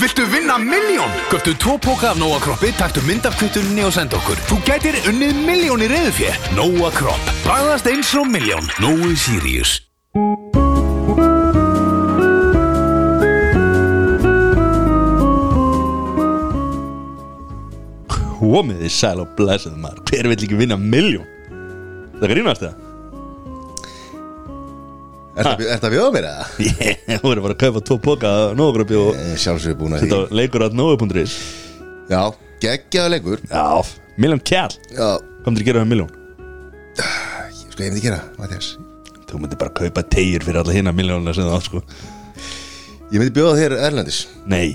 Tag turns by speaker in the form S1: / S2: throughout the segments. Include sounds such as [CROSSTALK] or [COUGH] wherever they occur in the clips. S1: Viltu vinna miljón? Köptu tvo póka af Nóa Kroppi, taktu mynd af kvittunni og senda okkur. Þú gætir unnið miljón í reyðufjö. Nóa Kropp. Bræðast eins og miljón. Nói Sirius.
S2: Komið þið sæl og blessað maður Hver vill ekki vinna miljón? Það grínast það?
S3: Er þetta að bjóða mér eða?
S2: [LAUGHS] Ég voru bara að kaupa tvo póka af nógröpi og
S3: Ég er Sjálfsögur búin að því
S2: þetta var leikur að nógu.is
S3: Já, geggjaðu leikur
S2: Já, miljón kjall
S3: Já,
S2: Kom til að gera það miljón
S3: sko ég myndi gera, Mathias
S2: Þú myndir bara kaupa tegjur fyrir alla hinna miljónuna sem það átt sko
S3: Ég myndi bjóða þér Erlendis
S2: Nei,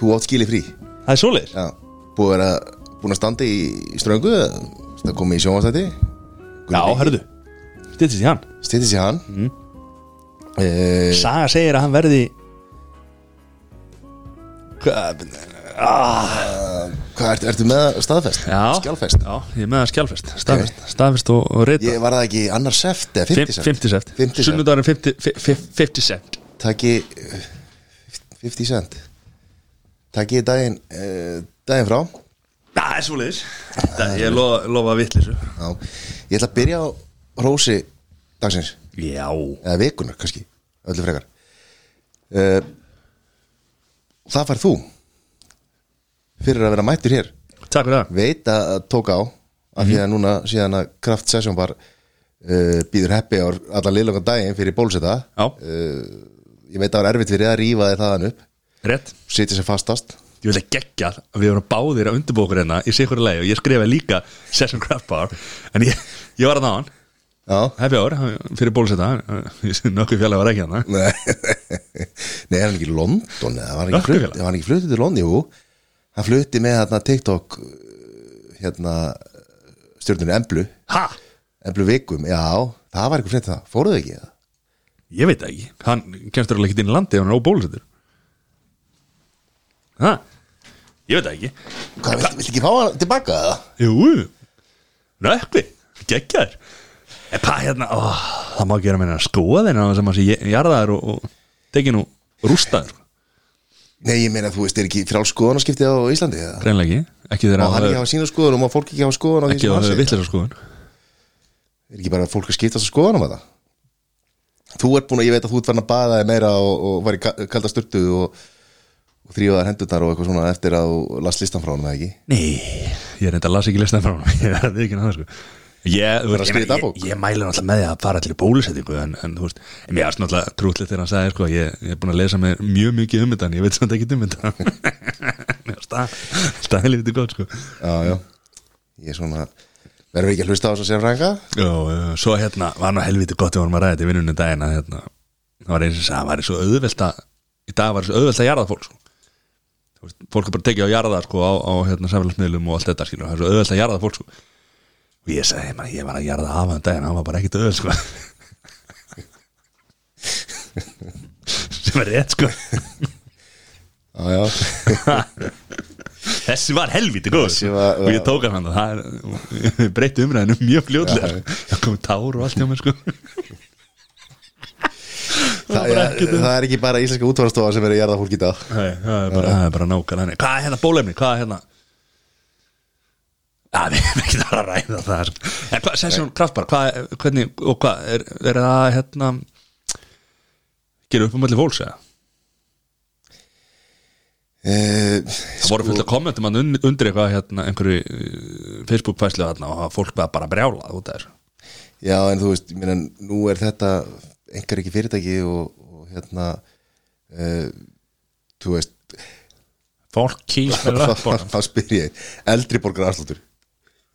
S3: Þú átt skili frí
S2: það er svoleiðis
S3: Já, búið að vera búin að standa í, í ströngu Það komið í sjónvastætti
S2: Já, hörðu Stýttist í hann
S3: Stýtti sér hann mm. eh,
S2: Saga segir að hann verði Hvað
S3: Hvað ert, ertu með staðfest?
S2: ah. Já.
S3: Skjálfest
S2: Já, ég er með það skjálfest Staðfest, staðfest og, og reyta
S3: Ég var það ekki annars seft eða 50 seft
S2: 50 seft
S3: 50 cent.
S2: Sunnudagurinn 50 fi- fi- 50 cent
S3: Takki 50 eh, cent Takki daginn, eh, daginn frá
S2: Það er svoleiðis Það- Ég lofa, lofa vittlisu
S3: Já, ég ætla að byrja á Rósi dagsins
S2: Já
S3: eða vikunar kannski, öllu frekar uh, Það fær þú fyrir að vera mættur hér
S2: Takk fyrir það
S3: veit að að tók á af því að núna síðan að Kraft Session var uh, býður heppi á allan liðlangan daginn fyrir bólseta
S2: Já,
S3: ég veit að það var erfitt fyrir þig að rífa þig þaðan upp
S2: rétt
S3: sitja sér fastast
S2: Ég vil að gegja að við vorum báðir að undirbókur hérna í sikur leið og ég skrifaði líka Session Craft Bar en ég, ég var að ná hann
S3: Já,
S2: Happy hour hann- fyrir bólusetta Eh, [LAUGHS] Nökkur fjallega var ekki hérna. hann
S3: Nei, [LAUGHS] Nei, er hann ekki í London eða var hann ekki,
S2: Lögreglufélag?
S3: flutt, var hann ekki fluttið til London, jú hann flutti með hérna TikTok uh, hérna stjórnunni Emblu,
S2: Ha?
S3: Emblu vikum já, það var eitthvað frétt það, fóruðu ekki það?
S2: Ég veit það ekki Hann kemst þurfa ekki inn í landi ef hann er óbólusettur Ha? Ég veit það ekki
S3: Hvað, vilt, vilt ekki fá hann tilbaka það?
S2: Jú, nökkvi, geggjar En hvað hérna, ó, það má gera meina skoðin að það sem að sé jarðaður og, og tekin og rústaður
S3: Nei, ég meina, þú veist, er ekki frálskoðunarskipti á Íslandi það?
S2: Greinlega ekki, ekki
S3: Má
S2: þegar að
S3: hann ekki hafa sína skoðun og má fólk ekki hafa skoðun á því
S2: ekki
S3: sem
S2: það
S3: hann
S2: hefur
S3: segir?
S2: vitleisa skoðun
S3: Er ekki bara fólk að skiptast á skoðunum að það? Þú ert búin að, ég veit að þú ert farin að baða þig meira og, og var í ka- kalda sturtu og, og þrýfaðar hendurnar og eitthvað svona eftir að þú las listan frá hann, eða ekki?
S2: Nei, ég er reynda að lasa ekki listan frá hann [LAUGHS] Ég er ekki að það sko Ég, þú
S3: Bara
S2: veist,
S3: skrifa
S2: ég, ég,
S3: dagbók.
S2: ég mæli náttúrulega með því að fara allir í bólusettingu en, en þú veist, en mér er náttúrulega trútlið þegar hann sagði sko, ég, ég er búin að lesa mér mjög mikið um þetta en ég veit samt ekki um þetta [LAUGHS] Mér finnst það helviti gott sko
S3: Já, já Ég er svona Verðum við ekki að hlusta á þess að segja frænga?
S2: Já, já, svo hérna var nú helviti gott við vorum að ræða þetta í vinnunni daginn að hérna, það var eins og það var svo auðvelt að í dag var svo auðvelt að jarða fólk sko. Þú veist, fólk er bara tekið á jarða sko, á, á hérna, samfélagsmiðlum og allt þetta skilur, það er svo auðvelt að jarða fólk sko. og ég sagði, man, ég var að jarða af hann daginn, hann var bara ekkit auðvelt sko. [LAUGHS] sem er rétt sko [LAUGHS]
S3: Já, já
S2: þessi var helviti góð
S3: Þessi var-
S2: og ég tók hann hann það er- [LAUGHS] breytti umræðinu mjög fljótlega það kom tár og allt hjá mér sko
S3: [LAUGHS] það, ja, það er ekki bara íslenska útvarstofa sem er að jarða fólk í dag
S2: Nei, það er bara, það er bara nákvæmlega þannig. Hvað er hérna bólefni, hvað er hérna Já, við erum ekki þar að ræða það sko. En hvað, sessjón kraftbar, hvað, hvernig og hvað, er, er það hérna gera upp um allir fólks eða?
S3: Eh,
S2: Það voru fullt af kommentum hann und- undir eitthvað hérna einhverju eh, Facebook-fæslu þarna og það fólk var bara að brjála út af þessu
S3: Já, en þú veist, ég meina, nú er þetta einhver ekki fyrirtæki og, og hérna uh, þú veist
S2: Fólk kýr
S3: þá þá spyr ég, eldri borgar afsláttur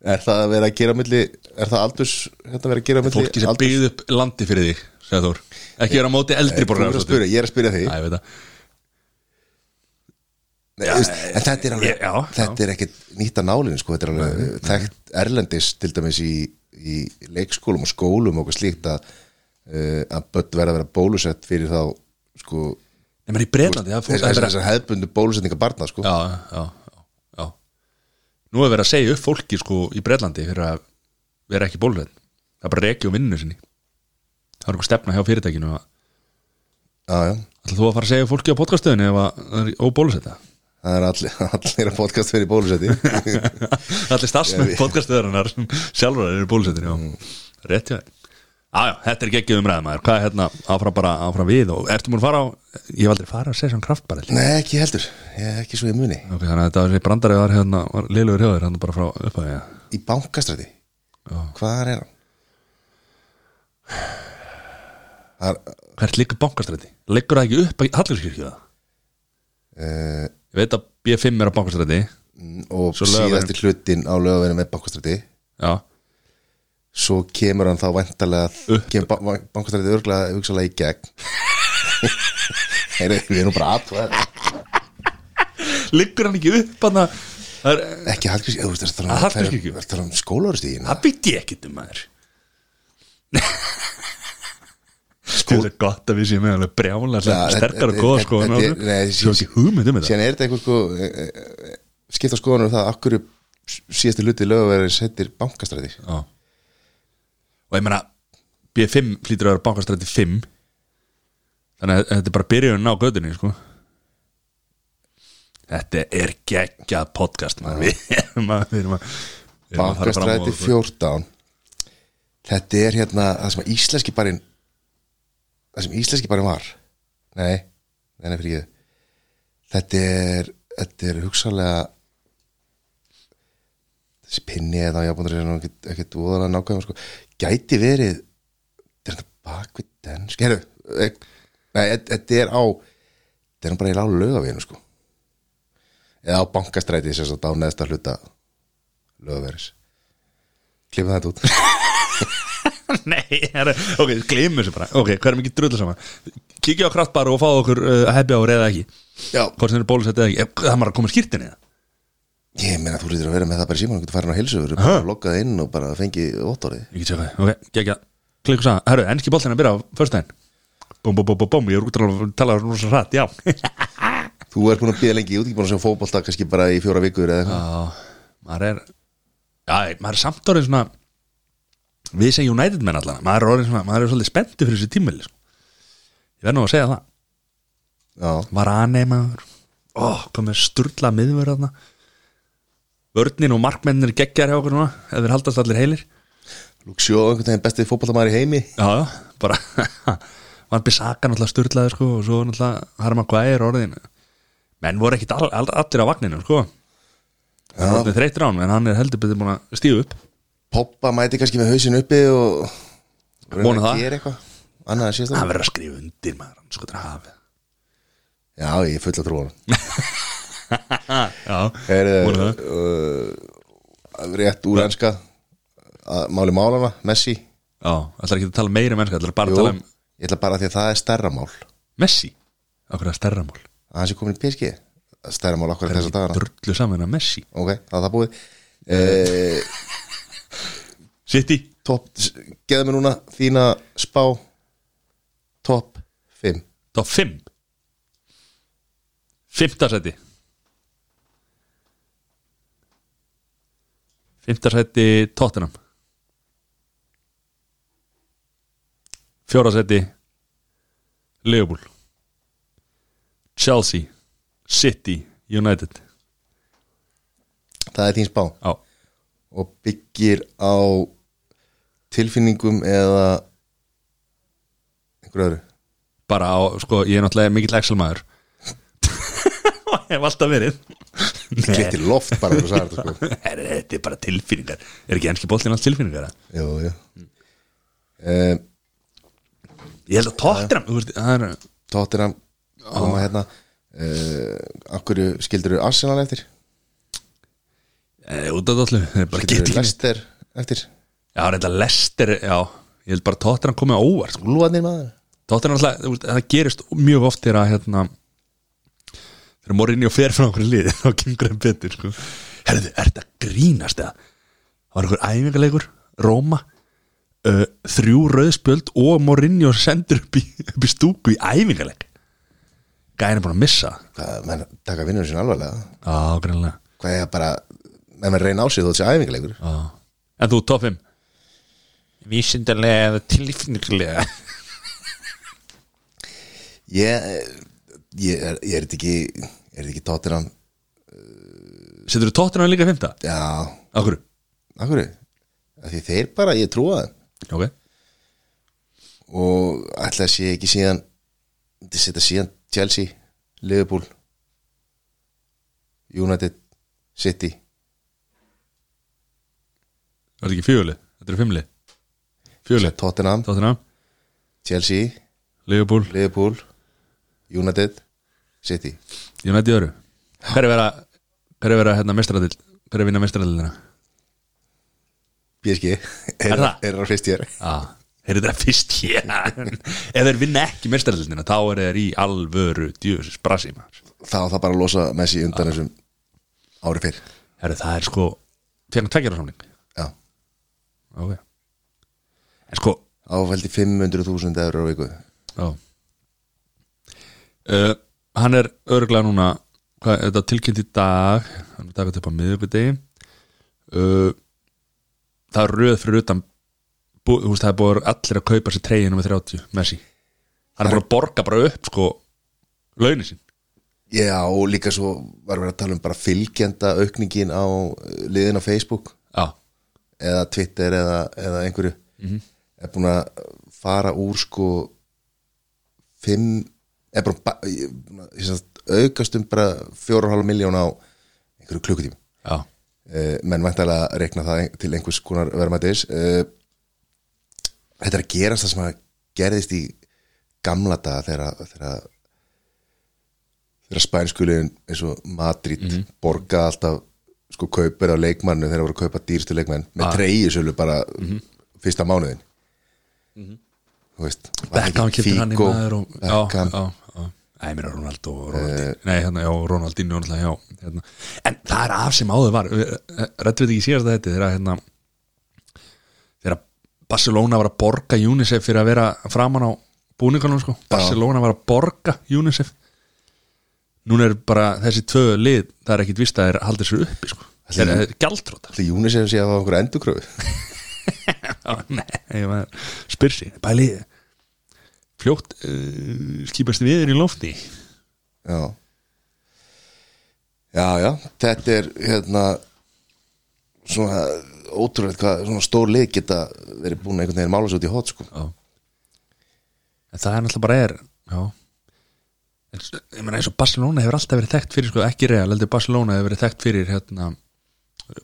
S3: er það að vera að gera á milli er það aldurs, hérna að vera að gera á milli
S2: Fólki sem byggði upp landi fyrir því, segja Þór Ekki vera á móti eldri
S3: Þú
S2: borgar
S3: verður að spyrja, ég er að spyrja því
S2: ég veit það
S3: Nei, þú veist, en þetta er alveg,
S2: ég- já,
S3: þetta er ekkit nýtt að nálinu sko, þetta er alveg þekkt erlendis til dæmis í, í leikskólum og skólum og okkur slíkt að, uh, að börn verða að vera bólusett fyrir þá sko,
S2: Nei, menn í Breitlandi, það er fólk það er
S3: þessar
S2: bara-
S3: þessar hefðbundu bólusetninga barna sko.
S2: já, já, já, já. Nú er verið að segja upp fólki sko í Breitlandi fyrir að vera ekki bólusetn það er bara rekið um vinninu sinni það er einhver stefna hjá fyrirtækinu að
S3: já, já
S2: Ætlar þú að fara að segja fólki á podcastöðinu ef að það er óbólusetta?
S3: Það er allir, [LAUGHS] allir að podcast verið í
S2: [LAUGHS]
S3: bólusetti
S2: [LAUGHS] Allir starfsmenn podcastöðurinnar sem sjálfur eru bólusettir, já Rétt hjá þér Jájá, þetta er geggið umræðum maður Hvað er hérna áfram bara áfram við og ertu múin að fara á Ég hef aldrei farið að segja svona kraftbarell
S3: Nei, ekki heldur, ég, ekki svo ég muni
S2: Ok, þannig að þetta var þessi brandari var hérna var liðlugur hjóður hérna bara frá upphæði já.
S3: Í bankastræti
S2: Já.
S3: Hvar er hann? Það er
S2: Hvert liggur bankastræti? Liggur það ekki upp að Hallgrímskirkju það?
S3: uh,
S2: Ég veit að B5 er á bankastræti
S3: Og
S2: Svo Laugavegur.
S3: síðasti hlutin á lögaveinu með bankastræti
S2: Já,
S3: Svo kemur hann þá væntalega
S2: Upp.
S3: Kemur ba bankastræti örglega hugsalega í
S2: [LAUGHS]
S3: gegn Heyri, Við erum bara aðtúð
S2: liggur hann ekki upp hann að Það er,
S3: Ekki Hallgrís, þú veist, það er
S2: Að
S3: að tala
S2: Hallgrímskirkju?
S3: um- ertu að tala um skólaurustíðin
S2: það bytti ég ekkit um maður Sko Það er gott að við séum með alveg brjála
S3: Já, þetta-
S2: sterkar og
S3: þetta-
S2: góða
S3: þetta-
S2: sko en
S3: þetta-
S2: áður.
S3: nei,
S2: Ég hef ekki hugmynd um þetta
S3: Síðan er þetta eitthvað sko eh, eh, eh, skipta skoðanur um það akkur síðasti hluti lögaverðins heitir bankastræti
S2: Já. Og ég meina B5 flýtur að vera bankastræti 5 Þannig að þetta er bara byrjun á göttinni sko Þetta er geggjað podcast [LAUGHS] maður Við erum að, við erum að við erum að fara fram á-
S3: Bankastræti 14 Þetta er hérna það sem að íslenski barinn það sem íslenski barinn var Nei, nei, nei fyrir ég Þetta er, þetta er hugsalega þessi pinni eða ég ábúndur er nú ekkit, ekkit úðalega nákvæm sko. gæti verið þetta er þetta bakvið densk Heru, ek, Nei, þetta- þetta er á þetta er nú bara í lágu lögavinu sko. eða á bankastræti sem sagt á neðsta hluta lögveris klipa þetta út
S2: [LAUGHS] Nei, herra, ok, gleymum þessu bara Ok, hvað erum ekki drullu saman Kíkja á kraftbar og fá okkur uh, happy hour eða ekki
S3: já.
S2: Hvort sem er bólusett eða ekki Eh, Það maður að koma skýrtinni
S3: ég meina þú lítur að vera með það bara í síman þú getur farin á heilsuður, bara loggað inn og bara fengið vottorið
S2: Ég get sér það, ok, gegja Klikku saman, herru, ennski bóllin að byrja á förstæðin Bum, bum, bum, bum, bum, ég er út að tala rosa hratt, já [LAUGHS]
S3: þú er búin að bíða lengi, ég út ekki búin að sjá fótbolta kannski bara í fjóra vikur eða eitthvað
S2: Já, maður er Já, maður er samt orðin svona Við sem United menn allan Maður er orðin svona, maður er svolítið spenntu fyrir þessu tímil sko. Ég verð nú að segja það
S3: já,
S2: var aðneimaður ó, kom með sturla miðverðarna vörnin og markmennir geggjar hjá okkur núna, ef þeir haldast allir heilir
S3: Luxjó, einhvern veginn bestið fótboltamæður í heimi
S2: já, já, bara [LAUGHS] var Bissaka náttúrulega sturlaði sko og svo náttúrulega Harma Guær orðin menn voru ekkit all, all, allir á vagninu sko það er orðin þreyttir án en hann er heldur betur búin að stíu upp
S3: Poppa mæti kannski með hausin uppi og og reyna
S2: Vona
S3: að
S2: það.
S3: gera eitthvað annað en síðast
S2: hann verður að skrifa undir maður hann sko til að hafi
S3: já, ég er full að trúa
S2: já, Vona
S3: hann
S2: það.
S3: uh, rétt úr enska að máli málana, Messi
S2: já, ætlar ekki að tala meira mennska ætlar bara
S3: Jú,
S2: að tala um
S3: ég ætla bara að því að það er stærra mál að
S2: Messi okkur að stærra mál
S3: hann sé komin í PSG stærra mál okkur þess að dagana
S2: drullu saman að Messi
S3: ok, það er það búið uh,
S2: City,
S3: top, geðu mér núna þína spá top 5
S2: top 5 Fymta seti Fymta seti Tottenham Fjóra seti Leopold Chelsea City United
S3: það er þín spá
S2: Já,
S3: og byggir á tilfinningum eða einhverju öðru
S2: bara á, sko, ég er náttúrulega mikill Excel-maður Og [LAUGHS] hef alltaf verið
S3: klitt í loft bara þú sagði þetta sko
S2: Herra, Þetta er bara tilfinningar Er ekki enski bóllin alls tilfinningar? eða?
S3: [LAUGHS] jú, jú uh,
S2: Ég held að Tottenham þú veist, það er-
S3: Tottenham koma hérna uh, akkur skildur þú Arsenal eftir
S2: Eh, út af dollu Þeir bara
S3: skildur
S2: geta
S3: þú
S2: ekki neitt.
S3: Leicester eftir
S2: Já, reynda Lester, já Ég held bara Tottenham komið á óvart sko.
S3: Lúanir maður
S2: Tottenham alltaf, þú veist, það gerist mjög oft þegar að hérna þegar morinni og fer frá okkur liði [LAUGHS] þá kemur hann betur, sko Herðu, er þetta grínast eða? Það var einhver æfingarleikur, Róma uh, þrjú rauðspjöld og morinni og sendur upp í, upp í stúku í æfingarleik Gæðin er búin að missa það.
S3: hvað, menn taka vinnunum sinna alvarlega
S2: Já, greinlega
S3: hvað er bara, menn menn reyna á sig þó þessi æfingarleikur
S2: Já. En þú, top 5
S4: vísindarlega eða tilfinningarlega
S3: ég, ég, er, ég er þetta ekki er þetta ekki tóttinan
S2: Setur þú tóttina líka fymta?
S3: já,
S2: Akkur?
S3: af hverju af því þeir bara, ég trúa þeim
S2: Ok
S3: og ætla að sé ekki síðan þetta setja síðan Chelsea Liverpool United City
S2: Það er ekki fjöli, þetta er fimmli Fjöli,
S3: Tottenham,
S2: tóttina,
S3: Chelsea
S2: Liverpool
S3: Liverpool United City
S2: Ég nætti öðru Hver er vera, hver er vera hérna mestradil Hver er vinna mestradilina?
S3: PSG
S2: Er
S3: er,
S2: það?
S3: [LAUGHS] er á fyrst hér
S2: Ah, er þetta fyrst hér Ef þeir vinna ekki mestradilina þá er þeir í alvöru djöfis brasíma
S3: þá á það bara að losa Messi undan þessum ári fyrr
S2: Herru, það er sko Fjarn tveggjara samling
S3: já,
S2: okay. En sko
S3: á veldi 500.000 eurur á viku
S2: Já uh, Hann er örglega núna hvað, er Þetta tilkynnt í dag Hann er dagat upp á miðvikudegi uh, Það er röð fyrir utan bú, þú veist, Það er búið allir að kaupa sér treyjunum með 30 Messi Hann er búin að borga bara upp sko Launin sín
S3: já og líka svo var við að tala um bara fylgjenda aukningin á eh, liðin á Facebook
S2: Já,
S3: eða Twitter eða, eða einhverju er búin að fara úr sko fimm er bara ba- ég- búin að- ég sem sagt, aukast um bara 4,5 miljón á einhverju klukkutíma
S2: já,
S3: uh, menn væntalega reikna það ein- til einhvers konar verðmætis uh, þetta er að gerast það sem að gerðist í gamla daga þegar þegar, þegar spænskulin eins og Madrid
S2: Mhm.
S3: borga alltaf sko kaupir á leikmannu þegar voru að kaupa dýrstu leikmann með ah. treyjusölu bara
S2: Mhm.
S3: fyrsta mánuðin þú veist var
S2: Beckham
S3: ekki
S2: kiptir hann í
S3: Figo,
S2: maður og, já,
S3: Beckham, Eh,
S2: já, já Æ, mér er Ronaldo og Ronaldinho Nei, hérna, já, Ronaldinho náttúrulega, já hérna. En það er af sem áður var Rættu við ekki síðast að þetta Þegar hérna, þegar Barcelona var að borga UNICEF fyrir að vera framan á búningunum sko. Barcelona var að borga UNICEF Núna er bara þessi tvö lið Það er ekkit vist að þeir haldið sér uppi sko. Þeir eru gjaldróta
S3: Ætli Unicef sé að það var einhverja endurkröfu
S2: Já, Nei, ég var spyrsi Bæli Fljótt uh, skýpast viður í lofti
S3: Já Já, já, þetta er hérna svona ótrúlega hvað svona stór lið geta verið búin að einhvern veginn mála sér út í hot sko.
S2: Já En það er náttúrulega bara er Já En s- Ég meina eins og Barcelona hefur alltaf verið þekkt fyrir sko, ekki real, heldur Barcelona hefur verið þekkt fyrir hérna,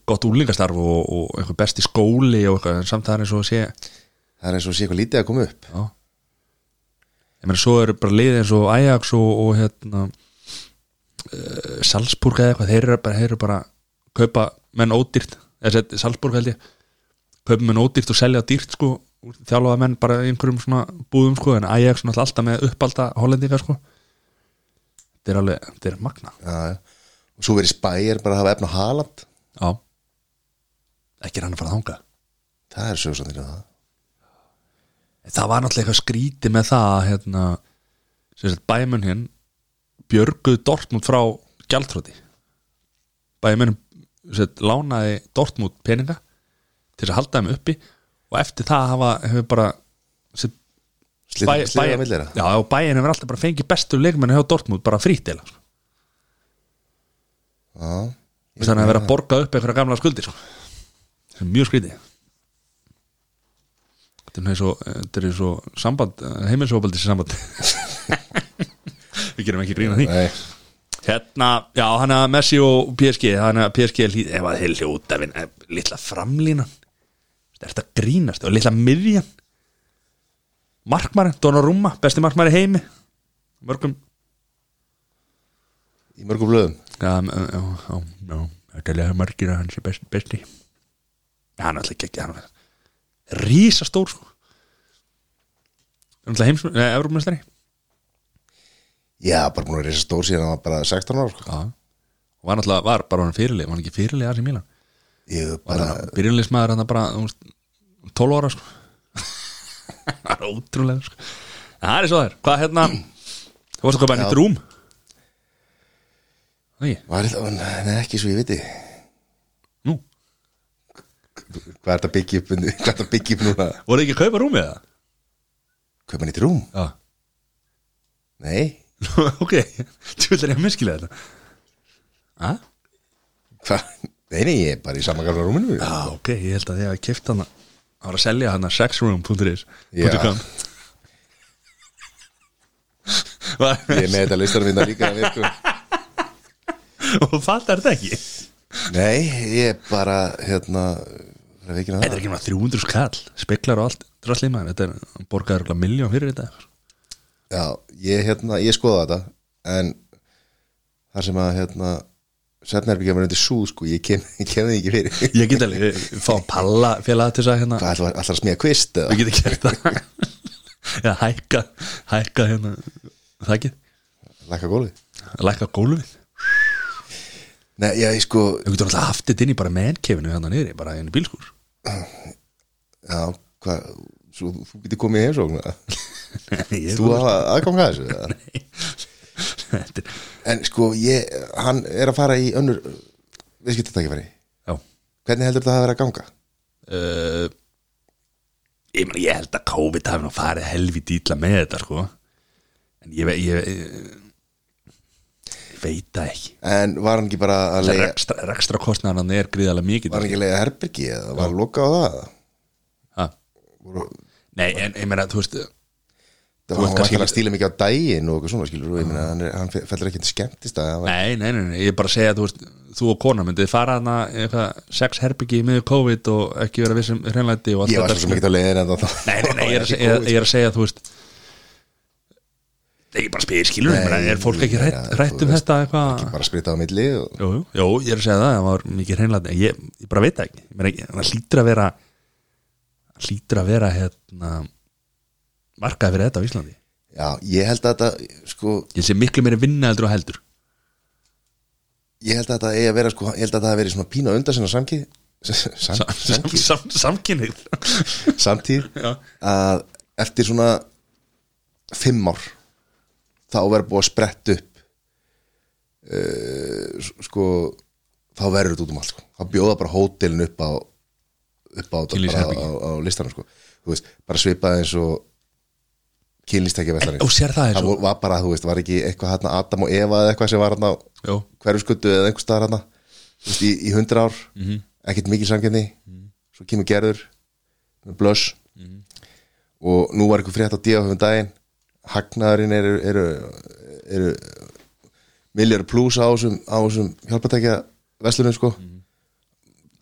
S2: gott úlingastarf og, og eitthvað besti skóli og eitthvað, en samt það er eins og að sé já.
S3: Það er eins og sé eitthvað lítið að koma upp
S2: Ég meina svo eru bara liðið eins og Ajax og, og hérna uh, Salzburg eða eitthvað þeir eru bara, þeir eru bara kaupa menn ódýrt, eða sett- Salzburg held ég kaupa menn ódýrt og selja dýrt sko, þjálfaða menn bara í einhverjum svona búðum sko, en Ajax náttúrulega alltaf með uppalda hollendinga sko þetta er alveg, þetta er magna
S3: Já, já Og svo verið spæjar bara að hafa efna haland
S2: já ekki er hann að fara að þanga
S3: Það er sögustandinn að það
S2: það var náttúrulega eitthvað skrítið með það að, hérna, sem sagt bæmun hinn björguð Dortmund frá gjaldtróti bæmun sagt, lánaði Dortmund peninga til þess að halda þeim uppi og eftir það hafa, hefur bara sem,
S3: Slið-
S2: Bæ- Bæ-
S3: Sliðið að millera
S2: já, og bæin hefur alltaf bara fengið bestu leikmenni hjá Dortmund bara frítila sko.
S3: Já,
S2: þannig að vera að borga upp einhverja gamla skuldir sko. sem er mjög skrítið þetta er nú eins og þetta er eins og samband heimilsofaldis samband [LAUGHS] við gerum ekki grína því
S3: nei
S2: hérna, já, hann er Messi og PSG hann er PSG er hlýð, ef að þeir hljóta vinna, eh, litla framlínan er þetta grínast og litla miðjan markmarin, Donnarumma besti markmarin í heimi mörgum
S3: Í mörgum blöðum
S2: Já, m- já, já, já Þetta er lega margir að hann sé best, besti Já, hann er alltaf ekki hann er Rísastór sko Það er alltaf heims eh, Nei, Evrópumestari
S3: Já, bara búin að reysa stór síðan að bara 16 ára sko.
S2: Já Og var alltaf, var bara hann fyrirlið Var hann ekki fyrirlið aðeins í Mílan
S3: Ég
S2: Var
S3: bara
S2: hann byrjunleismæður hann bara þú veist, 12 ára sko [LAUGHS] Það er ótrúlega sko En það er svo þær Hvað hérna Þú varst að koma nýtt rúm Nei,
S3: Var þetta, nei ekki svo ég viti
S2: nú
S3: Hvað er þetta að byggja upp undir- [LAUGHS] Hvað er þetta að byggja upp núna
S2: Voruð þið ekki að kaupa rúmið það?
S3: Kaupa nýtt rúm
S2: Já
S3: Nei,
S2: [LAUGHS] ok, þú ætlar ég að miskilega þetta a?
S3: hvað? Nei, nei, ég er bara í samangarna rúminu
S2: já, ok, ég held að ég hafi keift hana það var að selja hana sexroom.is
S3: Já. [LAUGHS]
S2: .com.
S3: Ég er með þetta listarum minna líka að virku
S2: og fattar þetta ekki
S3: Nei, ég er bara, hérna Það er
S2: þetta er
S3: ekki náttúrulega
S2: ekki maður 300 skall speklar og allt, drasli maður þetta er, hann borgaði miljón fyrir þetta
S3: Já, ég, hérna, ég skoða þetta En þar sem að, hérna Svefnherbyggja var undir sú, sko Ég kem, ég kem þið ekki fyrir
S2: ég get alveg fá palla félaga til þess að hérna
S3: Hvað, ætlar, ætlar að smíða kvist eða?
S2: við getum gert það [LAUGHS] eða hækka, hækka hérna þakkið,
S3: Lækka gólfið?
S2: lækka gólfið
S3: Nei, já, ég sko,
S2: við getum alltaf haft þetta inn í bara mennkefinu hérna niðri, bara inn í bílskúr [LAUGHS]
S3: já, hvað Svo þú getur komið í heimsókn eða?
S2: Ég
S3: Þú
S2: var-
S3: hafa aðgang að þessu eða?
S2: Þetta er-
S3: En sko, ég, hann er að fara í önnur viðskiptatækifæri
S2: Já
S3: Hvernig heldur það að vera að ganga?
S2: uh, ég, meina, ég held að COVID hafi nú farið helvið dýla með þetta sko En ég, ve- ég, ég, ég veit það ekki
S3: En var hann ekki bara að leiða
S2: Rekstra, rekstra kostnaðan er gríðalega mikið
S3: Var hann ekki að leiða herbergi eða var að loka á það?
S2: ha? Nei, en ég meina, þú veist
S3: Það
S2: Þú
S3: var
S2: ert kannski-
S3: kannski að stíla mikið á daginn og eitthvað svona skilur og ég meina hann, er- hann fe- fellur ekki til skemmtist að var,
S2: Nei, nei, nei, nei, ég er bara að segja, þú veist, þú og kona myndið fara hana eitthvað, sex herbyggi í miður COVID og ekki vera vissum hreinlæti og allt
S3: ég var
S2: þetta, sko?
S3: svo sem ekki að leiða en það
S2: Nei, nei, nei, ég er, sko. að, ég, er- ég er að segja, þú veist Nei, ég bara spyr skilur, nei, bara, er fólk ekki rætt, rætt um þetta eitthvað
S3: Bara að sprita á milli og,
S2: Jú, jú, jú, ég er að segja það, það var mikið hreinlæti en ég, ég bara veit það ekki, ég meina ekki, það hlýtur að vera það hlýtur að vera, hérna markað fyrir þetta á Íslandi
S3: Já, ég held að þetta sko,
S2: Ég sé miklu meiri vinna heldur og heldur
S3: ég held að þetta eigi að vera sko, ég held að það hafi verið svona pína undan sinna samkið sam,
S2: sam, sam, sam, Samkynnið
S3: samtíð
S2: Já.
S3: að eftir svona fimm ár þá verður búið að spretta upp uh, sko þá verður þetta út um allt sko. þá bjóða bara hótelin upp á upp á,
S2: Kynlífs-
S3: bara, á, á listanum sko. Þú veist, bara svipað eins og kynlýstekja
S2: En- og sér það eins og-
S3: það var bara, þú veist, var ekki eitthvað hérna Adam og Eva eða eitthvað sem var hérna á
S2: Jú,
S3: hverfskuttu eða einhver staðar hana veist, í, í hundra ár, ekkert mikil samkenni svo kemur gerður með blöss og nú var eitthvað frétt á díafum daginn hagnaðurinn eru eru, eru miljar plus á þessum, á þessum hjálpatækja veslunum sko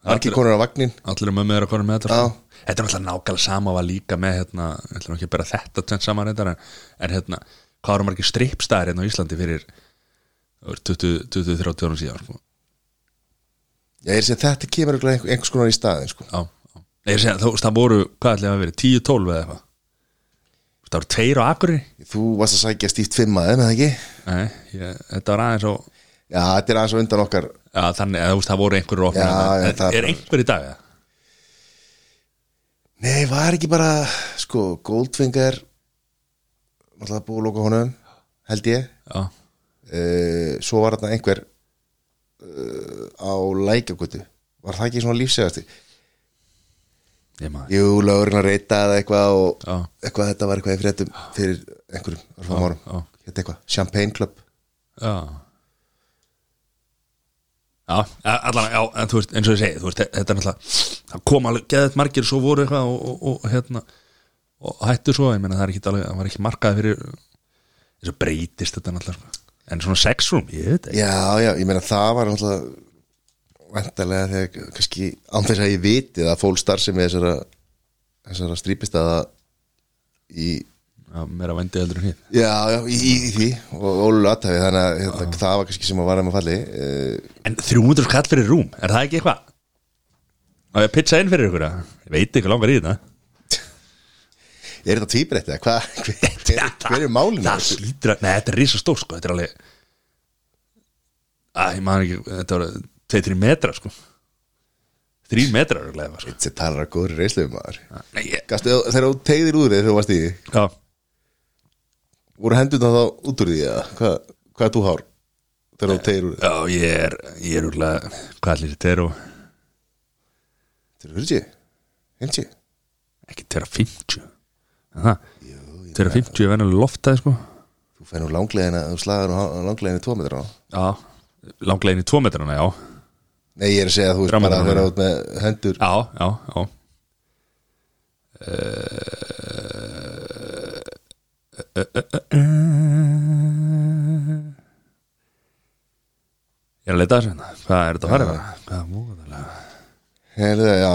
S3: margir konur á vagnin
S2: Allir um ömmuður og konur með þetta
S3: Já.
S2: sko. Þetta er alltaf nákvæmlega sama var líka með hérna, ég ætlum ekki að bera þetta tvennt saman reyndar en, en hérna, hvað eru margir strippstæðir hérna á Íslandi fyrir 20-30 árum síðan sko.
S3: ég er sem þetta kemur örugglega einhver, einhvers konar í staðin sko
S2: Já, já. Nei, ég segja, þú veist, það voru, hvað ætlum að vera 10-12 eða eitthvað Þú veist, Það voru tveir á akkurri
S3: þú varst að sækja stíft fimm aðeim eða ekki
S2: Nei, ég, þetta var aðeins og
S3: já, þetta er aðeins á undan okkar
S2: já, þannig, eða, þú veist, það voru einhverjur opnir
S3: Já,
S2: hérna.
S3: já,
S2: En
S3: það
S2: Er
S3: er bara-
S2: einhver í dag? eða?
S3: Nei, var ekki bara sko, Goldfinger náttúrulega búið að loka honum held ég
S2: Já,
S3: uh, svo var þarna einhver uh, á lækjagutu var það ekki svona lífsegasti
S2: ég maður
S3: Jú, lögurinn að reyta eða eitthvað og
S2: Já.
S3: eitthvað þetta var eitthvað í fréttum fyrir einhverjum örfum árum
S2: já.
S3: Hétt eitthvað, Champagne Club
S2: Já Já, allan, já, en þú veist, eins og ég segi, þú veist, þetta er náttúrulega, það kom alveg geðið margir svo voru eitthvað og, og, og hérna, og hættu svo, ég meina það er ekki alveg, það var ekki markað fyrir, eins og breytist þetta náttúrulega, sko. en svona sex room, ég veit ekki,
S3: Já, já, ég meina það var náttúrulega vantarlega þegar kannski án þess að ég viti það fól starfsemi þessara, þessara strípistaða í
S2: já, mér að vendi heldur en hér.
S3: Já, já, í, í, í því og Ólu Atavi, þannig að hérna, það var kannski sem að vara með falli uh,
S2: En 300 skall fyrir room, er það ekki eitthvað? Á ég að pitcha inn fyrir ykkur, að? ég veit ekki langar í þetta.
S3: Er þetta tvíbreytt eða hvað? [LAUGHS] Hver, hver, hver er málinu?
S2: það slítur að, nei þetta er risa stór sko þetta er alveg að ég maður ekki, þetta var 2-3 metra sko 3 metra er alveg sko.
S3: Þessi talar að góður reislega maður
S2: nei, ég,
S3: Gastu, þegar þú tegðir úr því þegar þú varst í því
S2: sko. já,
S3: voru hendurna þá út úr því eða hvað, hvað er þú hár þegar þú tegðir úr því?
S2: já ég er ég er alveg, hvað allir þetta er og
S3: Þeir eru 40? 50?
S2: ekki 250 Er það 250 er venjulega loftað sko
S3: Þú Þú fær nú langlegin að þú slagar nú langlegin í tvo metra á.
S2: já, langlegin í tvo metrana, já
S3: Nei, ég er að segja að þú veist
S2: Þrjá
S3: bara að
S2: metra.
S3: vera út með hendur
S2: já, já, já Eh, Ég er að leita að þessu hérna Hvað er þetta að fara yfir? Hvað er múðalega?
S3: Herðu, já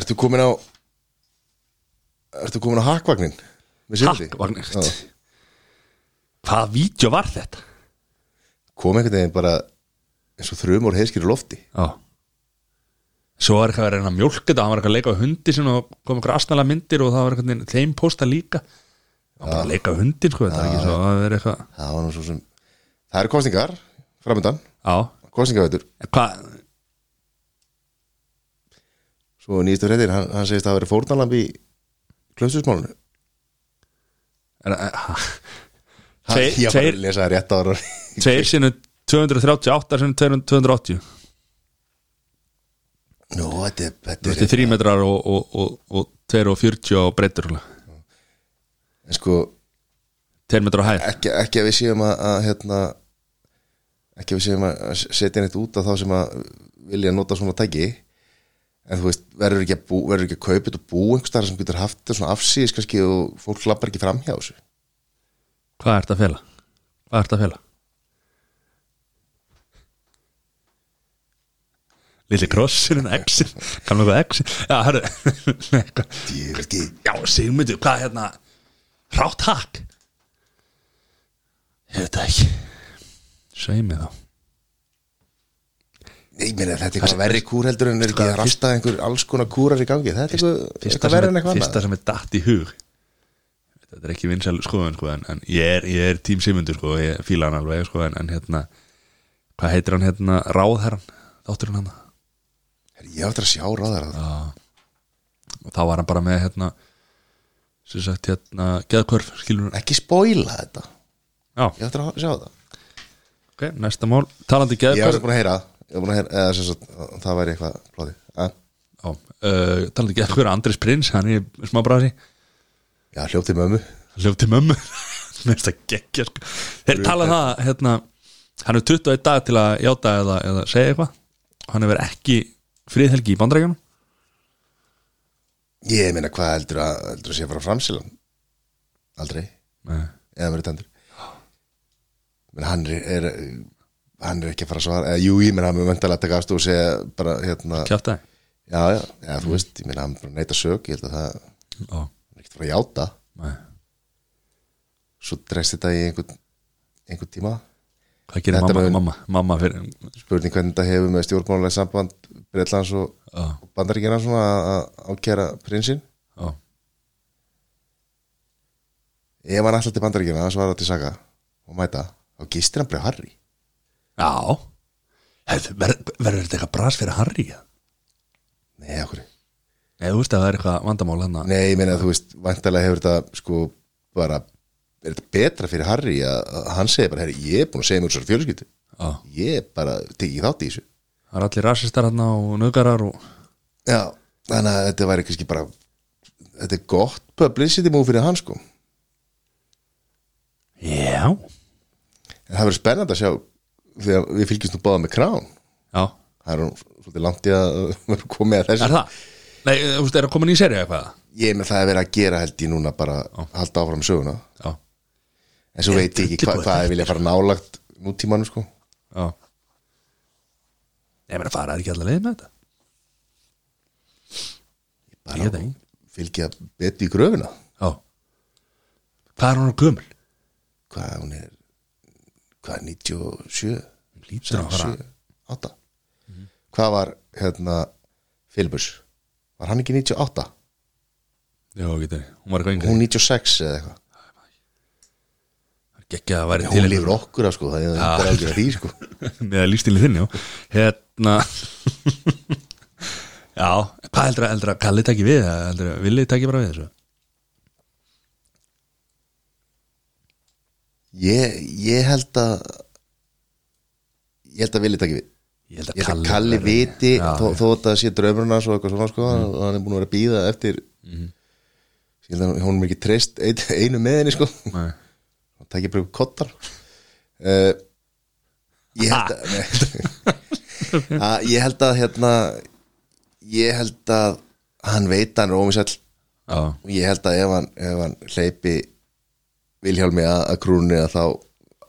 S3: Ertu komin á Ertu komin á hakvagnin?
S2: Hakkvagnist Hvaða vídeo var þetta?
S3: Kom einhvern veginn bara eins og þrjum úr heiskir í lofti
S2: Já Svo var eitthvað að reyna að mjólka þetta Hann var eitthvað að leika á hundi sinna og kom eitthvað astnalega myndir og það var eitthvað þeim posta líka Hann var bara að leika á hundin sko þetta er ekki svo að vera eitthvað
S3: Það var nú svo sem Það eru kostningar framöndan
S2: Já,
S3: Kostningavætur
S2: En hvað
S3: Svo nýjastu hreitir hann, hann segist að það hafa verið fórnalamb í klaususmálunu
S2: er- er- ha? Tveir-
S3: Ég var bara
S2: tveir-
S3: að lesa það rétt ára
S2: Tveir sinni 238 sinni 280
S3: [LAUGHS] Nú, þetta er- þetta
S2: Þetta er
S3: er
S2: þrý metrar og, og, og, og 2 og 40 og breytur
S3: En sko
S2: 2 metrar á hæð
S3: ekki, ekki að við séum að, að hérna, ekki að við séum að setja neitt út af þá sem að vilja nota svona tæki en þú veist, verður ekki að, bú, verður ekki að kaupa þetta og bú einhvers þar sem getur haft þetta svona afsýðis kannski og fólk lappar ekki fram hjá þessu
S2: Hvað er þetta að fela? Hvað er þetta að fela? Lilli krossurinn, exin Kannu eitthvað exin Já, hörðu Nei, hvað-
S3: Djöfildi,
S2: [LAUGHS] Já, sigmyndu, hvað er hérna Rátt hakk Ég veit það ekki Sveið mig þá
S3: nei, meina, þetta er eitthvað verri kúr heldur en er ekki að rasta einhver alls konar kúrar í gangi þetta er eitthvað,
S2: Sko, fyrsta,
S3: eitthvað verri
S2: sem er,
S3: en eitthvað
S2: fyrsta sem er datt í hug þetta er ekki vinsæl skoðun sko, en, en ég, er, ég er tím simundur sko, ég fíla hann alveg sko, en, en hérna hvað heitir hann hérna ráðherran þáttur hann hann
S3: annað Ég áttur að sjá ráðar að það
S2: og þá var hann bara með hérna sem sagt hérna geðkvörf skilur
S3: ekki spoila þetta,
S2: já,
S3: ég áttur að sjá það
S2: ok, næsta mál talandi
S3: Ég var
S2: geðkvörf
S3: búin að heyra, ég var búin að heyra eða, sem sagt, að það væri eitthvað plóði Já,
S2: já, uh, talandi geðkvörf Andris Prins, hann er í smábræðri
S3: hljópti mömmu
S2: hljóf til mömmu [LAUGHS] mest að geggja sko. þeir tala um það hérna, hann er 21 dag til að játa eða, eða segja eitthvað hann hefur ekki friðhelgi í bandrækjunum
S3: Ég meina hvað heldur að, heldur að sé að fara framsýlan Aldrei Eða verið tendur Men hann er, er Hann er ekki að fara að svara eða, Jú, ég meina hann er mentalega að taka afstu og segja bara hérna Já,
S2: kjátt aðeins
S3: já, já, þú veist, ég meina hann bara neita sög Ég held að það hann er ekki að fara að játa
S2: hvað
S3: Svo drest þetta í einhvern einhvern tíma
S2: gerir
S3: Þetta
S2: mamma,
S3: mun-
S2: mamma, mamma fyrir
S3: Spurning hvernig þetta hefur með stjórnmálega samband Breitlands og,
S2: á,
S3: og bandaríkina svona að- að ákæra prinsinn
S2: á.
S3: Ef hann alltaf til bandaríkina að svara til saga og mæta, þá gistir hann bara Harry
S2: já Hefðu, ver, verður þetta eitthvað bras fyrir Harry eða?
S3: Nei, okkur
S2: nei, þú veist að það er eitthvað vandamál hérna. hann að-
S3: Nei, ég meina þú veist, vantarlega hefur þetta sko bara, er þetta betra fyrir Harry að að hann segi bara, herri, ég er búin að segja mjög svo fjölskyldu,
S2: á,
S3: ég bara tekið ekki þátt í þessu.
S2: það er allir rasistar hann og nöðgarar og
S3: Já, þannig að þetta væri kannski bara þetta er gott publicity move fyrir hann sko en
S2: já,
S3: það verður spennandi að sjá þegar við fylgjumst nú báða með krán
S2: já,
S3: það er nú svolítið langt í að vera komið að þessu
S2: er það nei, þú veist, er það komin í seri eitthvað
S3: ég með það að vera að gera held ég núna bara halda áfram söguna
S2: já,
S3: en svo veit ég ekki hva,
S2: drullubúið.
S3: hvað ég vilja fara nálagt nútímanu sko
S2: Já Ég meina fara ekki allar leið með þetta Ég veit það ekki.
S3: fylgja betur í gröfina
S2: Já Hvað er hún á gömul?
S3: hvað hún er hvað 97
S2: Hún Lítur að fara
S3: 7, 8 hvað var hérna Filbus, var hann ekki 98
S2: Já, getur Hún var eitthvað yngri
S3: hún 96 eða eitthvað
S2: Gekki að það væri
S3: hún
S2: til
S3: lifur okkur að sko, það er bara ekki að því sko
S2: [LAUGHS] Með að lífstíli þinn, já Hérna [LAUGHS] Já, hvað heldur að, heldur að Kalli taki við eða heldur að Villi taki bara við þessu
S3: ég, ég held að ég held að vilja þetta ekki við
S2: Ég held að
S3: ég held að
S2: Kalli,
S3: Kalli
S2: verði-
S3: viti
S2: Já, Mhm.
S3: þó þó þetta sé draumurinn hans og eitthvað svona sko og hann er búin að vera að býða eftir mm. ég held að hún er ekki treyst ein- einu með henni sko
S2: Nei.
S3: og tækja bara upp kottar uh, ég held að,
S2: [LAUGHS]
S3: nei, að Ah, ég held að hérna ég held að hann veit að hann er ómisall
S2: Já,
S3: og ég held að ef hann, ef hann hleypi Vilhjálmi að, að krúnni að þá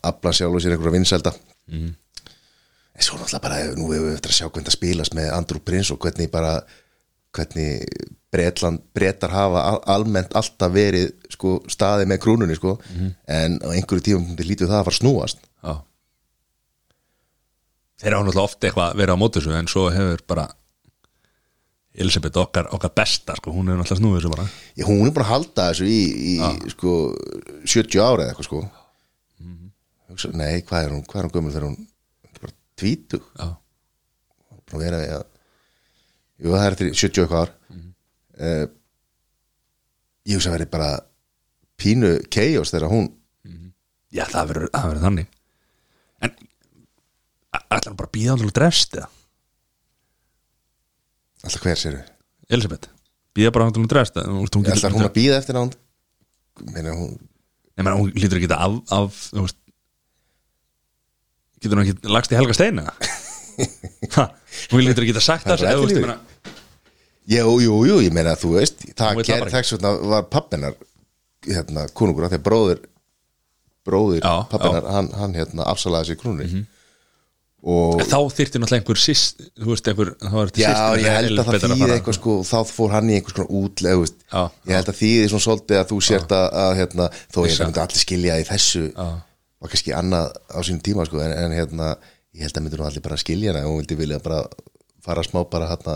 S3: afla sjálf og sér einhverja vinselda mm. en svo náttúrulega bara ef- nú hefur við eftir að sjá hvernig það spilast með Andrew Prince og hvernig bara hvernig Bretland, Bretar hafa al almennt alltaf verið sko, staði með krúnunni sko. en á einhverju tíum lítið það að fara að snúast
S2: já Þeir hafa náttúrulega oft eitthvað verið á móti þessu en svo hefur bara Elisabeth okkar, okkar besta sko, hún hefur náttúrulega snúið þessu bara
S3: ég, hún er bara að halda þessu í, í sko, 70 ára eða eitthvað sko. Hugsa, nei, hvað er hún, hvað er hún gömul þegar hún hún er bara tvítug
S2: Já,
S3: búin að vera í að jú, það er til 70 eitthvað ár
S2: Mhm.
S3: mm ég hugsa að veri bara pínu chaos þegar hún
S2: já það verður það verður þannig En ætlar hann bara að býða hann til að drefst eða?
S3: alltaf hver sér við,
S2: Elisabeth, býða bara hann til að drefst eða? Þú veist, hún getur-
S3: alltaf hún að býða eftir nánd meina hún,
S2: Nei, menn, hún lítur ekki af, af þú veist getur hún ekki lagst í helga steina
S3: [LAUGHS]
S2: Ha, hún lítur ekki að sagt
S3: Það er
S2: það
S3: bara
S2: eða, þú veist,
S3: eftirlífi.
S2: ég meina,
S3: jú, jú, jú, ég meina þú veist,
S2: Hún
S3: það
S2: vill það bara
S3: gerði
S2: ekki.
S3: þess vegna var pappinar hérna, konungur, af því að bróðir bróðir
S2: Já, Mhm.
S3: pappinar, hann, hann hérna afsalaði sér krúnir og
S2: þá þyrfti náttúrulega einhver sýst þú veist, einhver, þá var þetta
S3: Já,
S2: systir
S3: ég
S2: hennar
S3: held að það
S2: Elísabetar
S3: þýði
S2: fara.
S3: eitthvað sko, þá fór hann í einhvers konar útleg veist.
S2: Já,
S3: ég held að þýði svona svolítið að þú sért að, að hérna, þó ég
S2: Vissa.
S3: myndi allir skilja í þessu var kannski annað á sínum tíma sko, en, en hérna, ég held að myndir nú allir bara skilja hana og vildi vilja bara fara smá bara hérna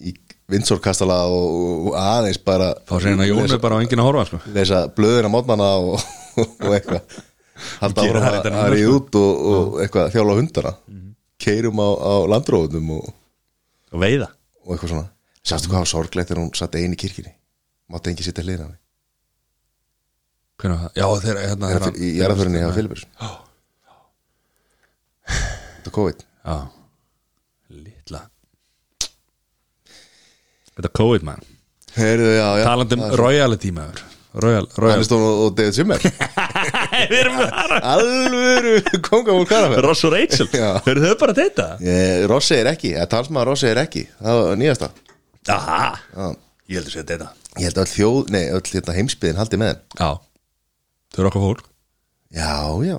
S3: í vinsorkastala og, og aðeins bara
S2: þá segir hann að Jón er bara á enginn að horfa sko.
S3: lesa blöðina mótnana og, [LAUGHS] og eitthvað halda
S2: Gera
S3: áfram
S2: það
S3: að
S2: reyndar núna,
S3: að
S2: sko. Mhm.
S3: ríða út og, og eitthvað þjála hundana keirum á, á landróðunum og
S2: og veiða
S3: og eitthvað svona Sástu hvað var sorglegt þegar hún satt ein í kirkjunni Mátti engi sitta hliðin á henni
S2: Hvernig var það? já, þeir, hérna,
S3: Þegar
S2: þeirra-
S3: hann- Í jarðaförinni hjá Filipur Þetta COVID
S2: já, litla þetta COVID man
S3: Heyrðu, já, já
S2: talandi um royalty maður royal, royal
S3: Hannistón um og og David Zimmer
S2: [LAUGHS] við erum bara
S3: Alvöru konga úr karafer
S2: Ross og Rachel,
S3: Já.
S2: eru þau bara að deyta?
S3: Eh, Rossi er ekki, eða talsmaður Rossi er ekki Það var nýjasta
S2: Aha,
S3: Já.
S2: ég heldur sér að deyta
S3: Ég held að öll þjóð, nei, öll hérna heimsbyðin haldi með henn
S2: Já, þau eru okkar fólk
S3: Já, já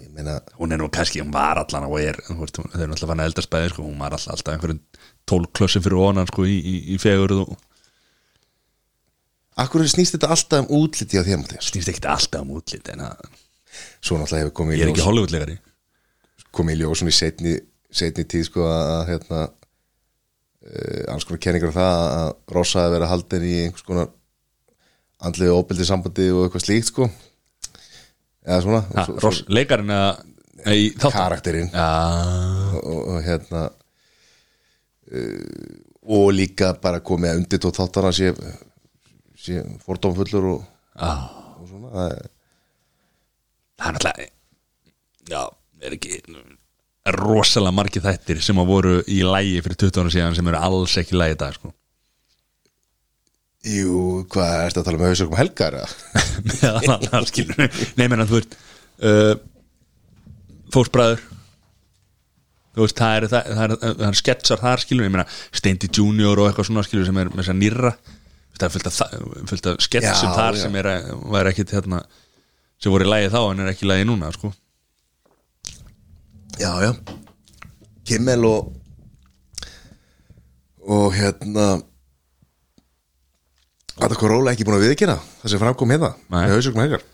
S3: Ég meina,
S2: Hún er nú kannski, hún var allan og er þú veist, hún- Þau eru alltaf fann að eldast bæði sko, Hún var alltaf, alltaf einhverjum tólklössi fyrir onan sko, í, í, í fegur og
S3: akkur snýst þetta alltaf um útliti á þér, Mattias
S2: snýst ekkert alltaf um útlit En að,
S3: Svo náttúrulega hefur komið
S2: ég er ekki Hollywoodlegari
S3: komið í ljós svona í setni, setni tíð sko að að, hérna uh, alls konar kenningar á það að Rossa hefði verið haldin í einhvers konar andlegu óbyldi sambandi og eitthvað slíkt sko eða svona
S2: ha,
S3: og, svo-
S2: Ross, Leikarinn að nei,
S3: svo,
S2: þáttum.
S3: karakterinn
S2: Já,
S3: og, og, og hérna uh, og líka bara komið að undir tótt þáttana sé, sé fordómfullur og,
S2: já
S3: og svona það er-
S2: Það er náttúrulega Já, er ekki rosalega margir þættir sem að voru í lægi fyrir 20 ára síðan sem eru alls ekki í lægi í dag sko. [LAUGHS]
S3: Jú, hvað ertu að tala með hausökum helgar? eða?
S2: meðan annars skilur Nei, menn að þú veist uh, Fósbræður Þú veist, það eru það, það, er, það er sketsar þar skilur Ég meina, Steindi Junior og eitthvað svona skilur sem er með þess að nýrra Það er fullt af, þa- fullt af sketsum
S3: Já,
S2: þar
S3: já.
S2: sem er, var ekkit hérna sem voru í lagi þá en er ekki í lagi núna sko.
S3: Já, já Kimmel og og hérna að það Corolla ekki búin að viðkynna það sem framkom hérna
S2: Nei.
S3: með hausökum helgar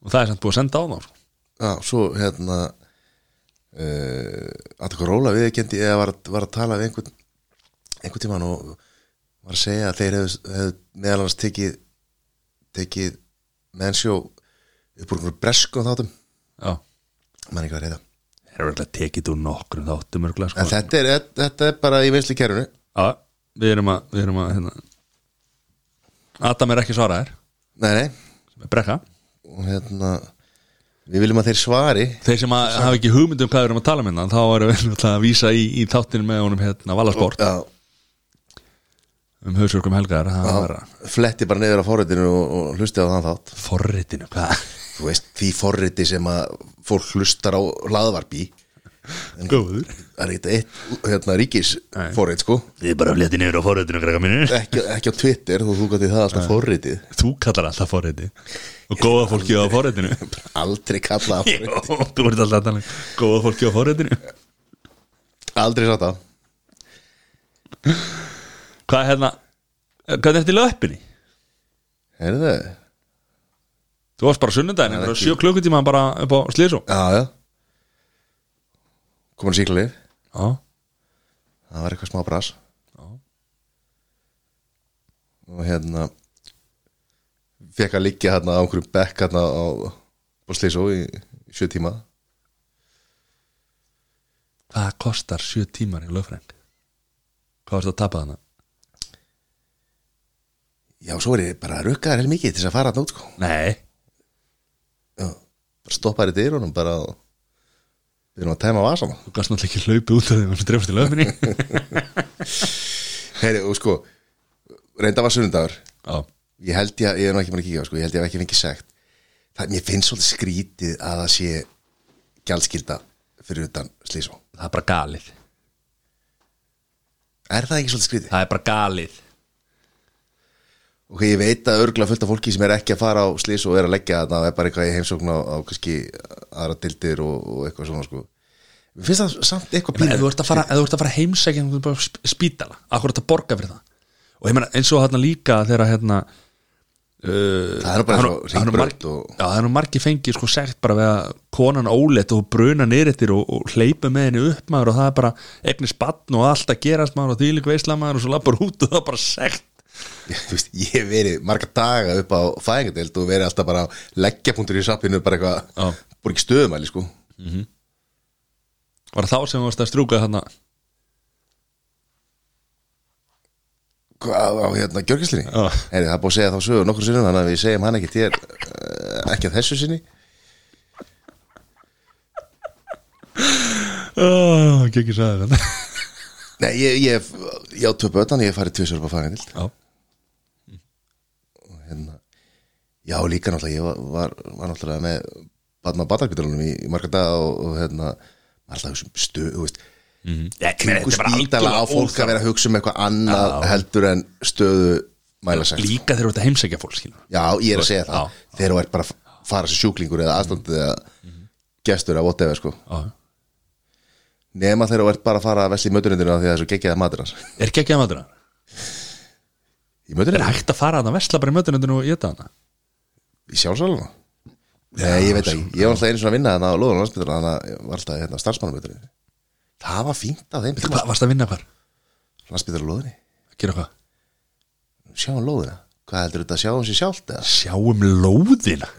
S2: og það er samt búið að senda á þá sko.
S3: Já, svo hérna uh, að það Corolla viðkynnti eða var, var að tala við einhvern einhvern tímann og var að segja að þeir hefðu, hefðu meðal hans tekið tekið mennsjó upp úr einhverjum breskum þáttum
S2: Já,
S3: mann ekki hvað reyða
S2: það er verið tekið úr nokkrum þáttum örgulega
S3: en
S2: sko.
S3: þetta er, þetta er bara í vinsli kerfinu
S2: Já, við erum að, við erum að hérna. Adam er ekki svaraðir
S3: nei, nei,
S2: sem er brekka
S3: og hérna við viljum að þeir svari
S2: Þeir sem að hafa ekki hugmynd um hvað við erum hérna að tala með hann þá erum við náttúrulega að vísa í, í þáttinu með honum hérna Valasport
S3: já,
S2: hérna, um hausverkum helgar það var að
S3: fletti bara niður á forritinu og, og hlusti á þann þátt
S2: forritinu, hvað?
S3: þú veist, því forriti sem að fólk hlustar á hlaðvarpi
S2: Góður
S3: það er eitthvað eitt hérna, ríkis forrit sko
S2: Þið er bara að fleti niður á forritinu, greika mínir
S3: ekki, ekki á Twitter, þú, þú gæti það alltaf forritið
S2: Þú kallar alltaf forriti og góða fólki á forritinu
S3: aldrei [LAUGHS] kalla
S2: Jó, Þú ert alltaf þannig góða fólki á forritinu
S3: aldrei satt á
S2: Hvað er hérna Hvað er eftir löppinni?
S3: heyrðu,
S2: Þú varst bara sunnudaginn, einhverja sjö klukkutíma bara upp á slísum
S3: já, já komin síklarlið
S2: Já,
S3: það var eitthvað smá bras og hérna fekk að liggja hérna á einhverjum bekk hérna á Bosslísó í í sjö tíma
S2: hvað kostar sjö tímar í lögfræng? Hvað varst að tapa þarna?
S3: já, svo er ég bara rukkaðar heil mikið til þess að fara hérna út sko
S2: Nei,
S3: Já, bara stoppaði dyrunum bara og við erum að tæma vasama
S2: þú gast náttúrulega ekki hlaupið út af því að þú drefast í lögfinni
S3: Heyri, og sko, reynda var sunnudagur
S2: [LAUGHS] Já,
S3: ég held ég að, ég er nú ekki maður að kíkja á, sko, ég held ég að ekki fengið sagt það, mér finnst svolítið skrítið að það sé gjaldskilda fyrir utan slísó
S2: það er bara galið
S3: er það ekki svolítið skrítið?
S2: Það er bara galið
S3: ok, ég veit að örgla fullt af fólki sem er ekki að fara á slísó og er að leggja þarna, það er bara eitthvað í heimsókn á, á kannski aðra dildir og, og eitthvað svona sko Mér finnst það samt eitthvað
S2: Ef þú ert að fara, ef þú ert að fara heimsækja þú ert bara á sp- spítala, akkur ert að borga fyrir það Og ég meina eins og hérna líka þegar hérna uh,
S3: Það er nú bara
S2: hann-
S3: eins
S2: hann er
S3: og hringbraut
S2: marg-
S3: og- [LAUGHS]
S2: Já, það er nú margi fengið sko sagt bara við að konan óleitt og bruna nýrættir og, og hleypa með henni upp maður og það er bara egnis batn og allt að gerast maður og þvílík veisla maður og svo lappar út og það er bara sagt
S3: þú veist, ég hef verið marga daga upp á fæðingadeild og verið alltaf bara leggjapunktur í sappinu, bara
S2: Já.
S3: eitthvað bara ekki stöðumæli, sko
S2: Var það þá sem þú varst að strúka þarna
S3: hvað á hérna, gjörgæslinni
S2: Já.
S3: Heri, það er búið að segja þá sögur nokkur sinnum þannig að við segjum hann ekki þér eh, ekki að þessu sinni
S2: oh, Gekki sagði þetta
S3: Nei, ég, ég, ég á tvö bötan, ég hef farið tvisar upp á fæðingadeild
S2: Já,
S3: og hérna, já, líka náttúrulega ég var, var, var náttúrulega með batna batarkvítalunum í, í marga daga og, og hérna, alltaf þessum stöð, þú veist kringu spítala á fólk að vera að hugsa um eitthvað annað heldur en stöðu mæla segt
S2: Líka þegar þú ert að heimsækja fólk skilur
S3: Já, ég er að segja það
S2: Já.
S3: Þegar þú ert bara að fara sem sjúklingur eða aðstandið eða gestur eða whatever sko
S2: Já.
S3: Nema þegar þú ert bara að fara að vesla í mötunindinu því að þessu geggjaða matur hans
S2: Er ekki ekki að matur
S3: Í
S2: Er
S3: mötunindinu?
S2: hægt að fara að vesla bara í mötunundinu og geta hana
S3: Í sjálfsalana? Nei, ég veit ekki Ég var alltaf einu svona að vinna þannig á Lóðan landsbytala þannig að ég var alltaf hérna, starfsmannumötuninu Það var fínt af þeim tíma
S2: Hva, Varst að vinna hvar?
S3: Landsbytala Lóðinni
S2: Að Gera hvað?
S3: Sjáum Lóðina Hvað heldur þetta að sjáum sér sjálft eða?
S2: Sjáum lóðina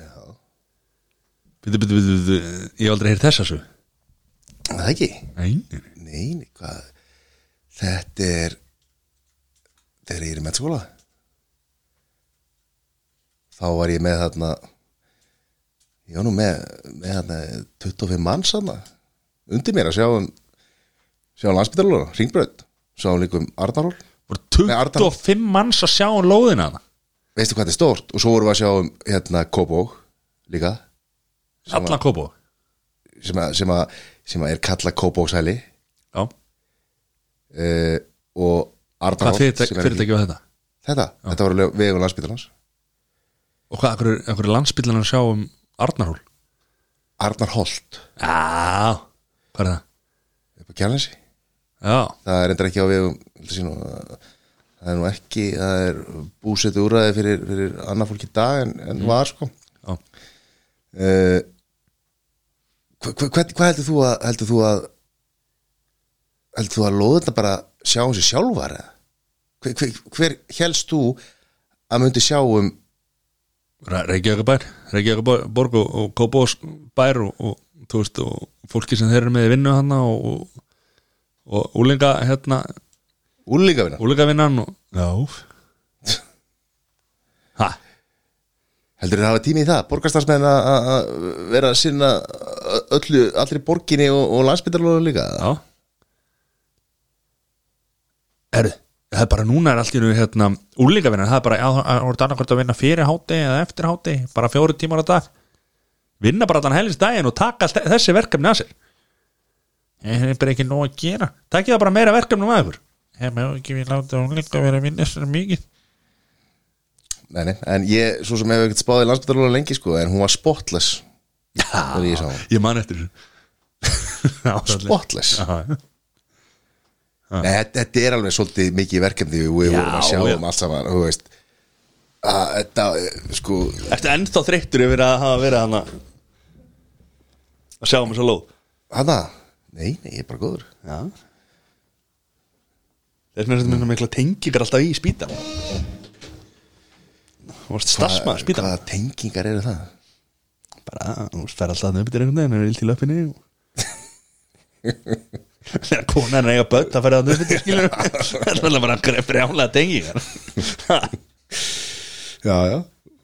S2: Bitu, bitu, bitu, bitu Ég hef aldrei heyrt þessa svo
S3: Er Það ekki?
S2: Nei
S3: Nei, nei, hvað Þetta er Þegar ég er í mennskóla Þá var ég með þarna Ég var nú með, með þarna 25 manns þarna Undir mér að sjá um Sjá um landsbytarlóna, ringbröð Sjá um líkum Arnarhól
S2: Voru
S3: Nei, Arnar.
S2: 25 manns að sjá um lóðina hana
S3: Veistu hvað þetta er stórt? Og svo vorum við að sjá um hérna Kóbók líka
S2: Allan kópó
S3: sem að, sem að, sem að er kallað Kóbóksæli
S2: Já
S3: uh, og Arnarhól
S2: Hvað fyrirtæki fyrirtæki var þetta?
S3: Þetta, þetta var alveg vegum landsbytarlans
S2: Og hvað, einhverju einhver landsbílarnar sjá um Arnarhól?
S3: Arnar Holt
S2: Já Hvað er það?
S3: upp á Kjarnesi
S2: Já
S3: það er endur ekki á vegum held að sé nú, að- það er nú ekki það er búsetu úræði fyrir, fyrir annað fólk í dag en, en var sko
S2: Já
S3: uh, hvað hva, hva heldur þú að heldur þú að heldur þú að loðurna bara sjá um sér sjálfar eða? hver, hver, hver helst þú að myndi sjá um
S2: Reykjavíkabær, Reykjavíkaborg og, og Kópós bær og, og, þú veist, og fólki sem þeir eru með í vinnu hana og, og, og úlinga hérna,
S3: úlíkavina
S2: úlingavinnan og Já Ha,
S3: Heldur þið að hafa tími í það? Borgarstarfsmenn að að vera að sinna öllu, allri borginni og, og landsbytarlóðum líka?
S2: já Erðu, það er bara núna er allt í nú hérna, úrlíkavinna, það er bara að, að, að, að, að vinna fyrir háti eða eftir háti bara fjóru tímar á dag vinna bara þann helgist daginn og taka allt þessi verkefni að sér ég hef bara ekki nóg að gera takk ég það bara meira verkefni um aður hef með ekki við láta úrlíka vera að vinna sér mikið
S3: Nei, nei, en ég, svo sem hefur ekkert spáðið landsbyttarlóla lengi sko, en hún var spotless þegar ég sá hún,
S2: ég man [LAUGHS] eftir þessu
S3: spotless
S2: Já,
S3: Nei, þetta- þetta er alveg svolítið mikið verkefni við við
S2: Já,
S3: vorum að sjá
S2: já.
S3: um allt saman, þú veist að þetta, sko
S2: Ertu ennþá þreyttur yfir að hafa verið hann að sjá um þess að lóð
S3: hana, nei, nei, ég er bara góður
S2: Já Þeir mér þetta minna mikla tengingar alltaf í spítan Þú varst starfsmaður spítan
S3: Hvaða tengingar eru það?
S2: Bara, þú veist, fer alltaf þarna upp í einhvern veginn en er vilt í löppinni og [LAUGHS] Þegar konan er eiga börn það fer þarna upp í [LAUGHS] skilur Það er alveg bara einhverja frjálega tengingar [LAUGHS]
S3: Já, já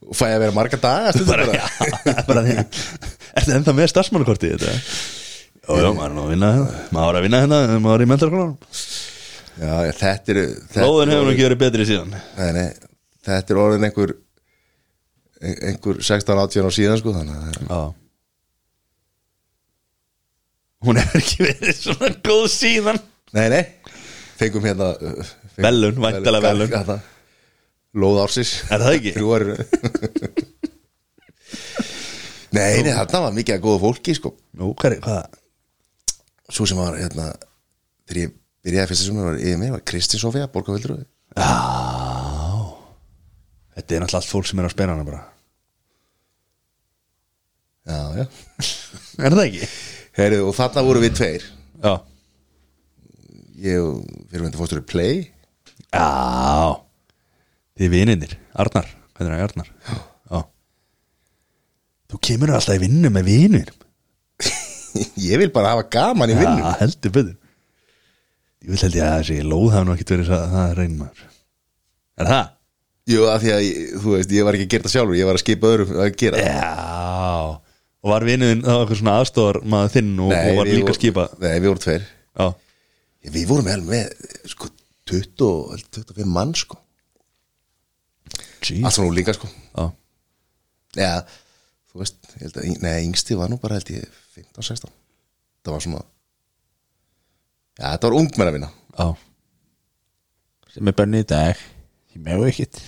S3: Og fæ að vera marga daga stundum
S2: Bara, já, bara því Er þetta ennþá með starfsmannakortið þetta? Jó, jó, maður er nú að vinna hérna Maður er að vinna hérna, maður er í mentarkonanum
S3: já, já, þetta eru þetta
S2: Lóðin hefur
S3: eru-
S2: nú ekki verið betri síðan
S3: Nei, nei, þetta er orðin einhver ein- einhver 16-18 á síðan sko þannig að það er-
S2: Já Hún hefur ekki verið svona góð síðan
S3: Nei, nei, fengum hérna uh, fengum-
S2: Velun, væntanlega velun.
S3: Hvað- hvað það? Lóð ársis
S2: Er það ekki?
S3: Þrjú eru Nei, nei, þarna var mikið að góða fólki sko
S2: Nú, hvað er, hvað?
S3: Svo sem var hérna þegar ég byrjaði fyrsta sumar var yfir mig var Kristins Sofía, borgarvildröði
S2: Þetta er náttúrulega allt fólk sem er á spenana bara
S3: Já, já
S2: Er það ekki?
S3: Heyrðu, og þarna voru við tveir
S2: Já
S3: Ég og fyrirvendur fórstur í Play
S2: Já Þið vininir, Arnar Hvernig er það, Arnar? Já Þú kemur alltaf í vinnu með vinur
S3: Ég vil bara hafa gaman í vinnu
S2: Já, heldur betur Ég vil held ég að þessi lóð hafa nú ekkert verið það, það reynum maður Er það?
S3: Jú, af því að, ég- þú veist, ég var ekki að gera það sjálfur Ég var að skipa öðrum að gera það
S2: Já Og var vinuðin þá eitthvað svona aðstofar maður þinn og, og var
S3: við
S2: líka
S3: vorum-
S2: að skipa
S3: Nei, við vorum tveir
S2: Já,
S3: Við vorum með, með sko, 20, og- held 25 mann, sko
S2: jeez
S3: Allt svona úlingar, sko
S2: Já,
S3: Já, þú veist, ég held að, nei, yngsti var nú bara, held ég, 15, 16 Það var svona Já, þetta var ungmenna minna
S2: já
S4: sem er bönni í dag ég megu ekkit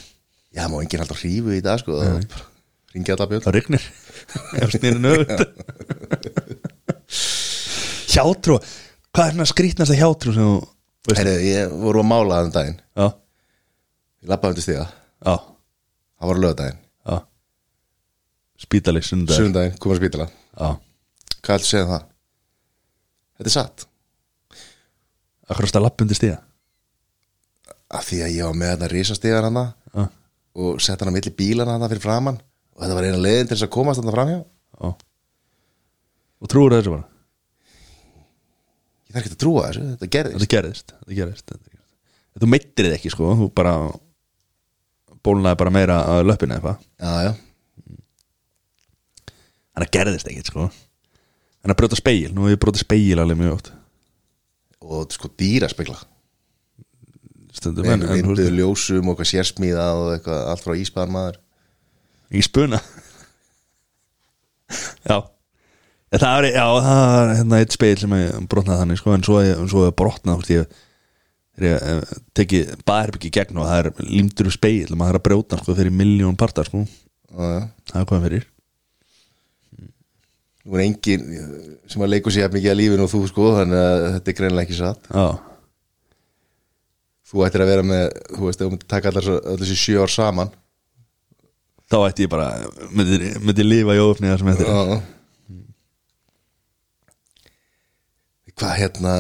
S3: Já, má enginn haldur hrífu í dag, sko Það var bara, ringi alltaf bjöld
S4: [LAUGHS]
S2: Það rignir Ef snýrinn auðvitað Hjátrú Hvað er svona skrýtnasta hjátrú sem þú veist?
S3: Heyrðu, ég voru að mála þann daginn
S2: Já,
S3: Ég lappaði undir stiga,
S2: já,
S3: það var lögdaginn
S2: já Spítali, sundar
S3: Sjöndaginn, komum að spítala
S2: Já,
S3: Hvað ætlaðu að segja um það? Þetta er satt
S2: akkur ást að lappa undir stíða
S3: Af því að ég var með þetta risastegar hana
S2: Já,
S3: og sett hana milli bílana hana fyrir framann og þetta var eina leiðin til þess að komast hana framhjá Ég
S2: já Og trúir þessu bara
S3: þarf ekki að trúa þessu, þetta gerðist
S2: Þetta gerðist, þetta gerðist, þetta gerðist. Þú meittir þið ekki sko, þú bara bólnaði bara meira að löppinu eða eitthvað
S3: Já, já,
S2: Þannig að gerðist ekkert sko Þannig að brjóta speil, nú hef ég brjóta speil alveg mjög oft
S3: og sko dýra spekla
S2: Stundum en, en þú
S3: Vinduðu
S2: veist,
S3: ljósum og eitthvað sérsmíðað og eitthvað allt frá íspaðarmaður
S2: ekki spuna Já En Það var, já, það var hérna eitt speil sem ég brotnaði þannig sko, en svo, ég- en svo ég brotnaði hvort ég þegar ég eh, teki baðherbyggi gegn og það er límdur speil, maður er að brjóta hann, sko fyrir miljón partar sko,
S3: Já, já.
S2: það er hvað fyrir
S3: Nú er engin sem að leikur sér jafn mikið að lífinu og þú sko þannig að þetta er greinlega ekki satt
S2: Já,
S3: Þú ættir að vera með, þú veist, ef þú myndir taka allar svo- öll þessi sjö ár saman
S2: þá ætti ég bara myndi, myndi lifa í óöfni það sem þetta er.
S3: Já Hvað hérna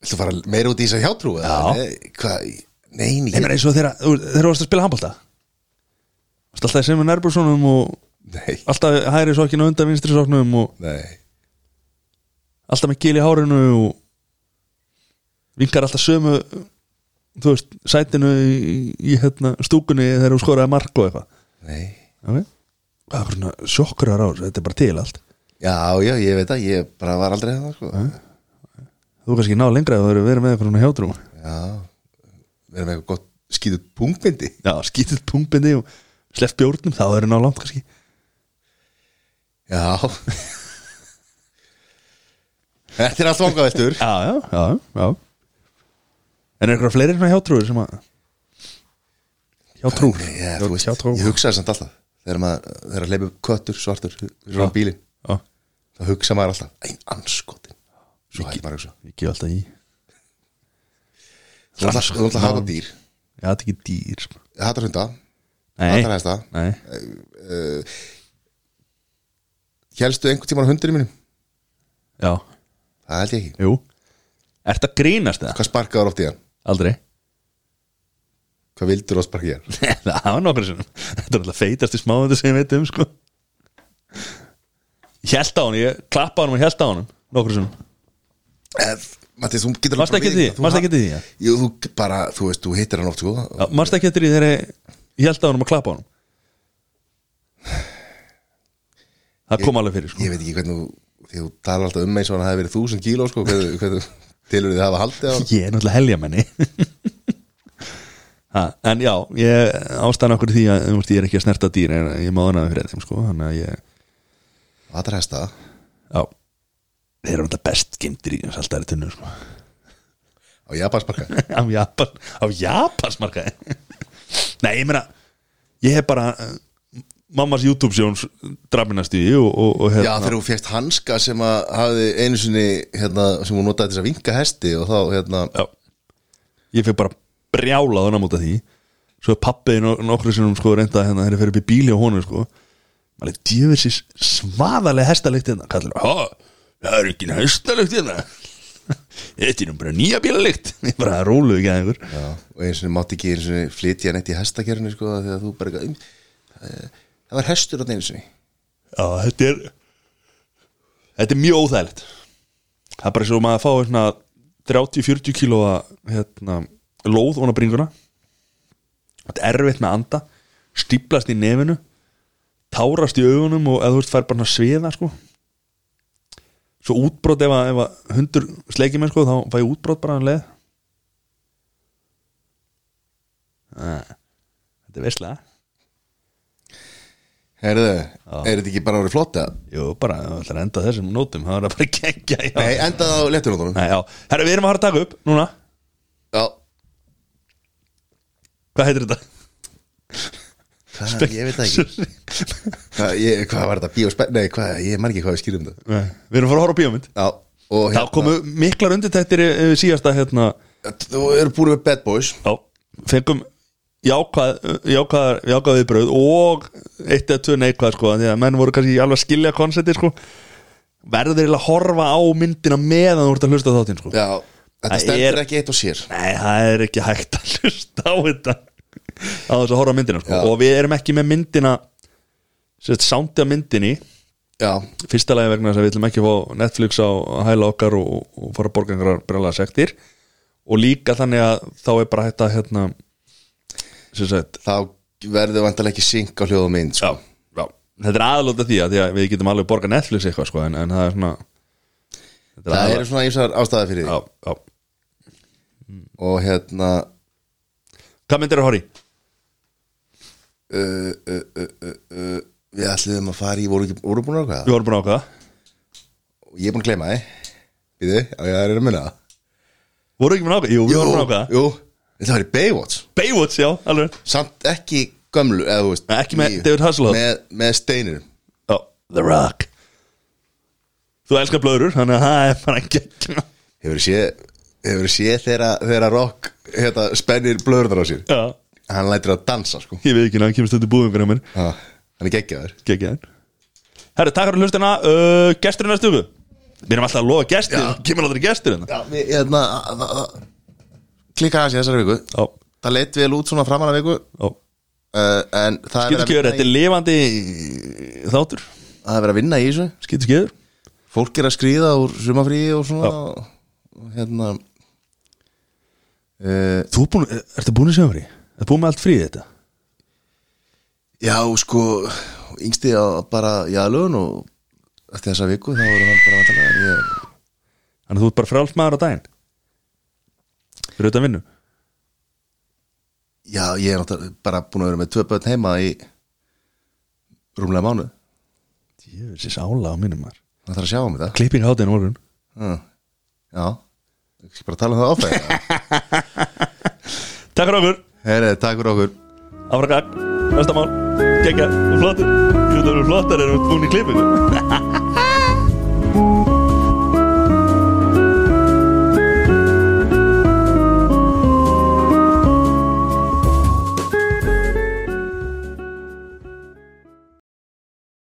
S3: Viltu fara meira út í þess að hjátrú? eða?
S2: Já.
S3: Nei, Hvað, nei,
S2: Nei,
S3: nei,
S2: menn eins og þeirra, þeirra varst að spila handbólta varst alltaf sem er nærbúrssonum og
S3: nei,
S2: alltaf hæri sokkinu undan vinstri sokknum og
S3: nei
S2: alltaf með gil í hárinu og vinkar alltaf sömu þú veist, sætinu í, í hérna, stúkunni þegar hún skoraði mark og eitthvað
S3: Nei
S2: okay. það er svona sjokkur á þessu, þetta er bara til allt
S3: Já, já, ég veit að ég bara var aldrei það sko.
S2: þú kannski ná lengra að þú verið verið með eitthvað svona hjátrúma
S3: Já vera með eitthvað gott skýðut pungbindi
S2: Já, skítið pungbindi og slepp bjórnum þá er hann á langt kannski
S3: Já Þetta er allt vangaveltur
S2: [LAUGHS] Já, já, já, já En er eitthvað fleiri svona hjátrúir sem að Hjátrúr
S3: Já, þú veist,
S2: Hjátrú
S3: ég hugsaði samt alltaf Þegar maður, þegar að leipa upp köttur, svartur Svona
S2: Já.
S3: bílin,
S2: Já,
S3: þá hugsa maður alltaf Ein anskotin Svo hætti maður að hugsa
S2: ég gef alltaf í
S3: Þú ætla þú ætla að hafa dýr,
S2: Já, þetta er ekki dýr sko.
S3: hattar hunda
S2: Nei,
S3: Hattar hæsta
S2: nei
S3: Hélstu einhvern tímann á hundinu mínum?
S2: Já,
S3: Það held ég ekki
S2: jú Ertu að grínast það?
S3: Hvað sparkaður oft í hann?
S2: [LAUGHS] Aldrei
S3: Hvað vildur þú að sparka í hann?
S2: Það var nokkru sinnum Þetta er alltaf feitasti smáðandi sem ég veit um sko. Ég held á hann, ég klappa á hann og held á hann Nokkru sinnum
S3: Mattið, Eh, þú getur
S2: Manstu
S3: bara
S2: ekki eftir
S3: viðurkennt
S2: því? Manstu ekki eftir
S3: að þú ha-
S2: því? já?
S3: Jú, þú bara, þú veist, þú hittir hann oft sko
S2: Já, Manstu ekki eftir því þegar ég- ég held á hann og klappa á hann Það kom alveg fyrir sko.
S3: Ég veit ekki hvernig þú- því þú talar alltaf um eins og hann hafi verið þúsund kíló sko, hvernig, hvernig tilur þið hafa haldið
S2: [LAUGHS]
S3: á hann
S2: Ég er náttúrulega helgjamenni ha, En já, ég ástæðan okkur því að um, ég er ekki að snerta dýr en ég má hana fyrir þeim sko, þannig að ég,
S3: Hattar hæsta
S2: já Þeir eru alltaf best geimdir í saltari tunnu sko. [LAUGHS]
S3: á japansparka
S2: á Japan, á Japansmarkaði [LAUGHS] Nei, ég meina ég hef bara eh, mammas YouTube sjóns draminastíði og, og, og hérna-
S3: Já, þegar þú fjast hanska sem að hafi einu sinni hérna, sem hún notaði til þess að vinka hesti og þá hérna
S2: já. ég fyrir bara brjálað hann á móta því svo er pappiði nokkru sinum sko reynda hérna, þeir fyrir upp í bíli á honum sko maður er djöfisins svaðalega hestalikt hérna, kallar hann, ha það er engin hestalikt hérna [LAUGHS] þetta er nú bara nýja bílalikt [LAUGHS] ég bara róluðu ekki að einhver
S3: já, og einu sinni mátti ekki einu sinni flytja neitt í hestakerunni sko, af því að þú bara eitthvað, "Um, eh, það var hestur á einu sinni
S2: Já, þetta er Þetta er mjög óþægilegt Það er bara eins og maður að fá hérna, 30-40 kílóa hérna, lóð óna bringuna Þetta er erfitt með að anda stíplast í nefinu tárast í augunum og eða þú veist fær bara svona sviða sko Svo útbrot ef að, ef að hundur sleikir mér sko þá fæ ég útbrot bara um leið Ah, Þetta er veistlega
S3: Herðu, er þetta ekki bara orðið flott eða?
S2: Jú, bara, það ætlar að enda á þessum nótum það er að bara gengja já.
S3: Nei, endað á lettunóttunum
S2: Nei, já, herra, við erum að fara að taka upp núna
S3: Já,
S2: Hvað heitir þetta?
S3: hvað, ég veit það ekki hvað, ég, hvað var þetta, bíóspenn, nei, hvað, ég man ekki hvað við skýrum þetta
S2: Nei, við erum að fara að horfa á bíómynd
S3: Já, og hérna,
S2: Þá komu miklar undirtættir yfir síðasta hérna
S3: Þú eru búin með Bad Boys
S2: Já, fengum jákvæð, jákvæð, jákvæð viðbröð og eitt eða tvö neikvæð sko því að menn voru kannski alveg að skilja konsepti sko Verður þeir eiginlega að horfa á myndina meðan þú ert að hlusta á þáttinn sko
S3: Já, þetta
S2: Það
S3: stendur
S2: er-
S3: ekki eitt og sér
S2: Nei, það er ekki hægt að hlusta á þetta á þess að horfa á myndina sko.
S3: Já.
S2: og við erum ekki með myndina sérst, soundið af myndinni
S3: Já,
S2: fyrsta lagi vegna þess að við ætlum ekki að fá Netflix á að hæla okkar og, og fara að borga einhverjar brjálega sektir og líka þannig að þá er bara hægt að hérna sem sagt
S3: þá verður vandalega ekki synk á hljóð og mynd sko.
S2: já. þetta er aðlóta því að því að við getum alveg að borga Netflix eitthvað sko en, en það er svona þetta
S3: Það eru
S2: aðal-
S3: svona einsar ástæða fyrir því
S2: já, já.
S3: Og hérna
S2: Hvað myndir að horfa í?
S3: uh, uh, uh, uh, uh, Við ætluðum að fara í voru, ekki, voru búin að ákvæða
S2: Við vorum búin að ákvaða
S3: Ég er búin að gleyma þið Býðu, á ég að reyna að munna það
S2: Voru ekki búin að ákvaða? Jú, við vorum búin að ákvaða
S3: jú Þetta var í Baywatch
S2: Baywatch, já, alveg
S3: Samt ekki gömlu, eða þú veist
S2: Nei, ekki með
S3: nýju.
S2: David Hasselhoff.
S3: Með, með steinir
S2: Já, The Rock Þú elskar blöður, þannig að það er bara ekki Já,
S3: Hefur séð Hefur séð þegar þegar rock hérna, Spennir blöðurðar á sér Hann lætur að dansa sko
S2: ég veit ekki hann kemur stöndi búðingur að mér
S3: Já, Hann er geggjaður
S2: Gekkjaðan Herru, takk fyrir hlustina uh, Gestur í næstu viku Við erum alltaf að lofa gestur
S3: Já.
S2: Kemur aldrei gestur hérna
S3: Já, við, hérna a- a- a- Klikka aðeins í þessari viku
S2: Já,
S3: Það leitt vel út svona framan að viku
S2: já
S3: uh, En það
S2: Skýtur
S3: er, verið að
S2: skjöður,
S3: vinna
S2: þetta er
S3: í,
S2: lifandi þáttur
S3: það er verið að vinna í þessu
S2: Skýtur skjöður
S3: Fólk er að skrýða úr sumafríi og svona og, og hérna uh,
S2: Þú er búin, er- ertu búin að sjá frí? Ertu búin með allt frí þetta?
S3: Já, sko Yngsti á bara jáðlun og eftir þessa viku þá voru hann bara vantalega ég,
S2: Þannig að þú ert bara frálst maður á daginn Fyrir auðvitað vinnu
S3: já, ég er náttúrulega bara búin að vera með tvö börn heima í rúmlega mánu
S2: Ég veist þess ála á mínum maður
S3: það þarf að sjá um þetta
S2: Klippin hátinn morgun
S3: Mm. Já, ég skal bara tala um það áfæða
S2: Takk fyrir okkur,
S3: [LAUGHS] Herri, takk fyrir okkur
S2: afrakak, næsta mál Gekka, flottir Þú veist það eru flottar en við búin í klippinu